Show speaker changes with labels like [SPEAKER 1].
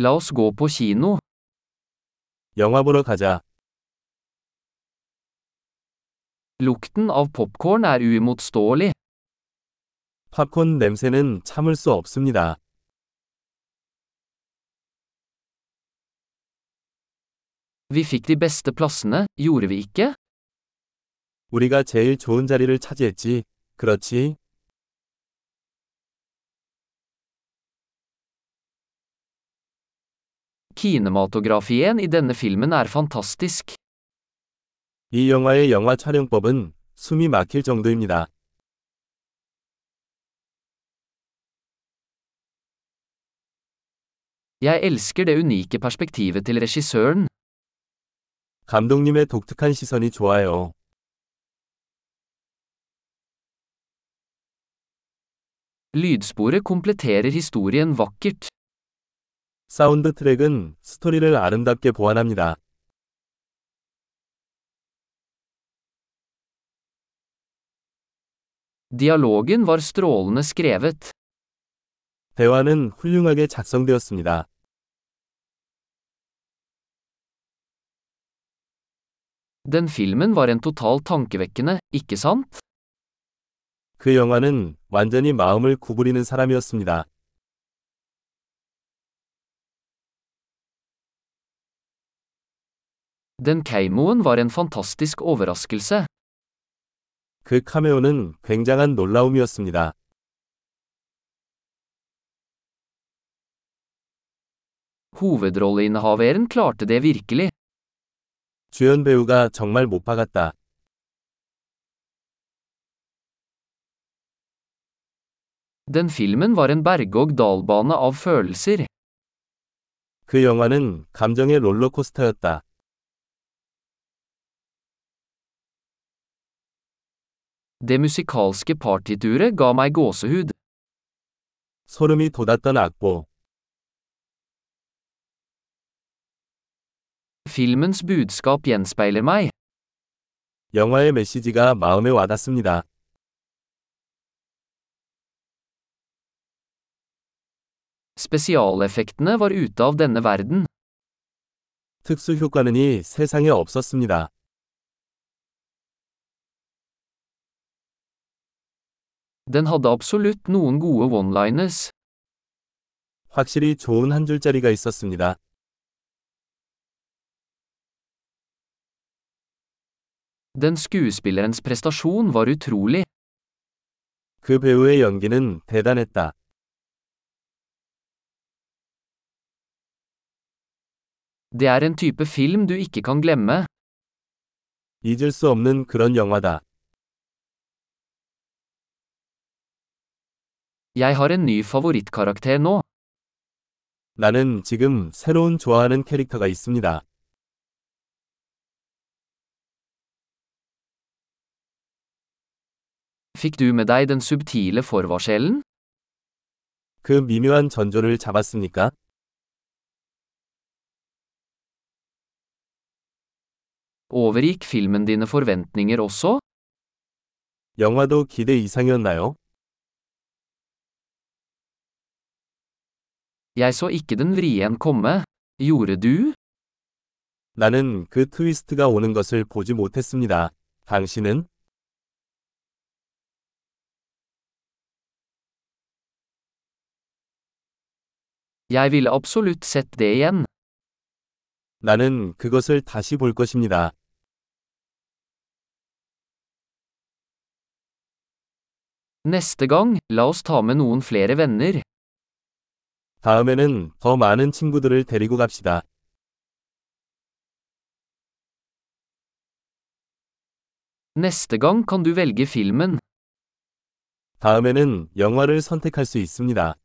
[SPEAKER 1] La oss gå på kino.
[SPEAKER 2] 영화 보러 가자.
[SPEAKER 1] Lukten av popkorn er uimotståelig.
[SPEAKER 2] 팝콘 냄새는 참을 수 없습니다.
[SPEAKER 1] Vi fikk de beste plassene, gjorde vi ikke?
[SPEAKER 2] 우리가 제일 좋은 자리를 차지했지. 그렇지?
[SPEAKER 1] Kinematografien i denne filmen er fantastisk.
[SPEAKER 2] 이 영화의 영화 촬영법은 숨이 막힐 정도입니다.
[SPEAKER 1] Jeg elsker det unike perspektivet til regissøren.
[SPEAKER 2] 감독님의 독특한 시선이 좋아요.
[SPEAKER 1] Lydsporet kompletterer historien vakkert.
[SPEAKER 2] 사운드 트랙은 스토리를 아름답게 보완합니다.
[SPEAKER 1] Dialogen var strålende skrevet.
[SPEAKER 2] 대화는 훌륭하게 작성되었습니다.
[SPEAKER 1] Den filmen var en total tankevekkende, ikke sant?
[SPEAKER 2] 그 영화는 완전히 마음을 구부리는 사람이었습니다.
[SPEAKER 1] Den keimoen var en fantastisk overraskelse.
[SPEAKER 2] 그 카메오는 굉장한 놀라움이었습니다.
[SPEAKER 1] Hovedrolleinnehaveren klarte det virkelig.
[SPEAKER 2] 주연 배우가 정말 못 박았다.
[SPEAKER 1] Den filmen var en berg-og-dal-bane av følelser.
[SPEAKER 2] 그 영화는 감정의 롤러코스터였다.
[SPEAKER 1] Det musikalske partituret ga meg gåsehud.
[SPEAKER 2] 소름이 돋았던 악보.
[SPEAKER 1] Filmens budskap gjenspeiler meg.
[SPEAKER 2] 영화의 메시지가 마음에 와닿습니다.
[SPEAKER 1] Spesialeffektene var ute av denne verden.
[SPEAKER 2] 특수 효과는 이 세상에 없었습니다.
[SPEAKER 1] Den hadde absolutt noen gode one-liners.
[SPEAKER 2] 확실히 좋은 한 줄짜리가 있었습니다.
[SPEAKER 1] Den skuespillerens prestasjon var utrolig.
[SPEAKER 2] 그 배우의 연기는 대단했다.
[SPEAKER 1] Det er en type film du ikke kan glemme.
[SPEAKER 2] 잊을 수 없는 그런 영화다.
[SPEAKER 1] Jeg har en ny favorittkarakter nå.
[SPEAKER 2] 나는 지금 새로운 좋아하는 캐릭터가 있습니다.
[SPEAKER 1] Fikk du med deg den subtile forvarselen?
[SPEAKER 2] 그 미묘한 전조를 잡았습니까?
[SPEAKER 1] Overgikk filmen dine forventninger også?
[SPEAKER 2] 영화도 기대 이상이었나요?
[SPEAKER 1] Jeg så ikke den vrien komme. Gjorde du?
[SPEAKER 2] 나는 그 트위스트가 오는 것을 보지 못했습니다. 당신은?
[SPEAKER 1] Jeg ville absolutt sett det igjen.
[SPEAKER 2] 나는 그것을 다시 볼 것입니다.
[SPEAKER 1] Neste gang, la oss ta med noen flere venner.
[SPEAKER 2] 다음에는 더 많은 친구들을 데리고 갑시다.
[SPEAKER 1] Neste gang kan du velge filmen.
[SPEAKER 2] 다음에는 영화를 선택할 수 있습니다.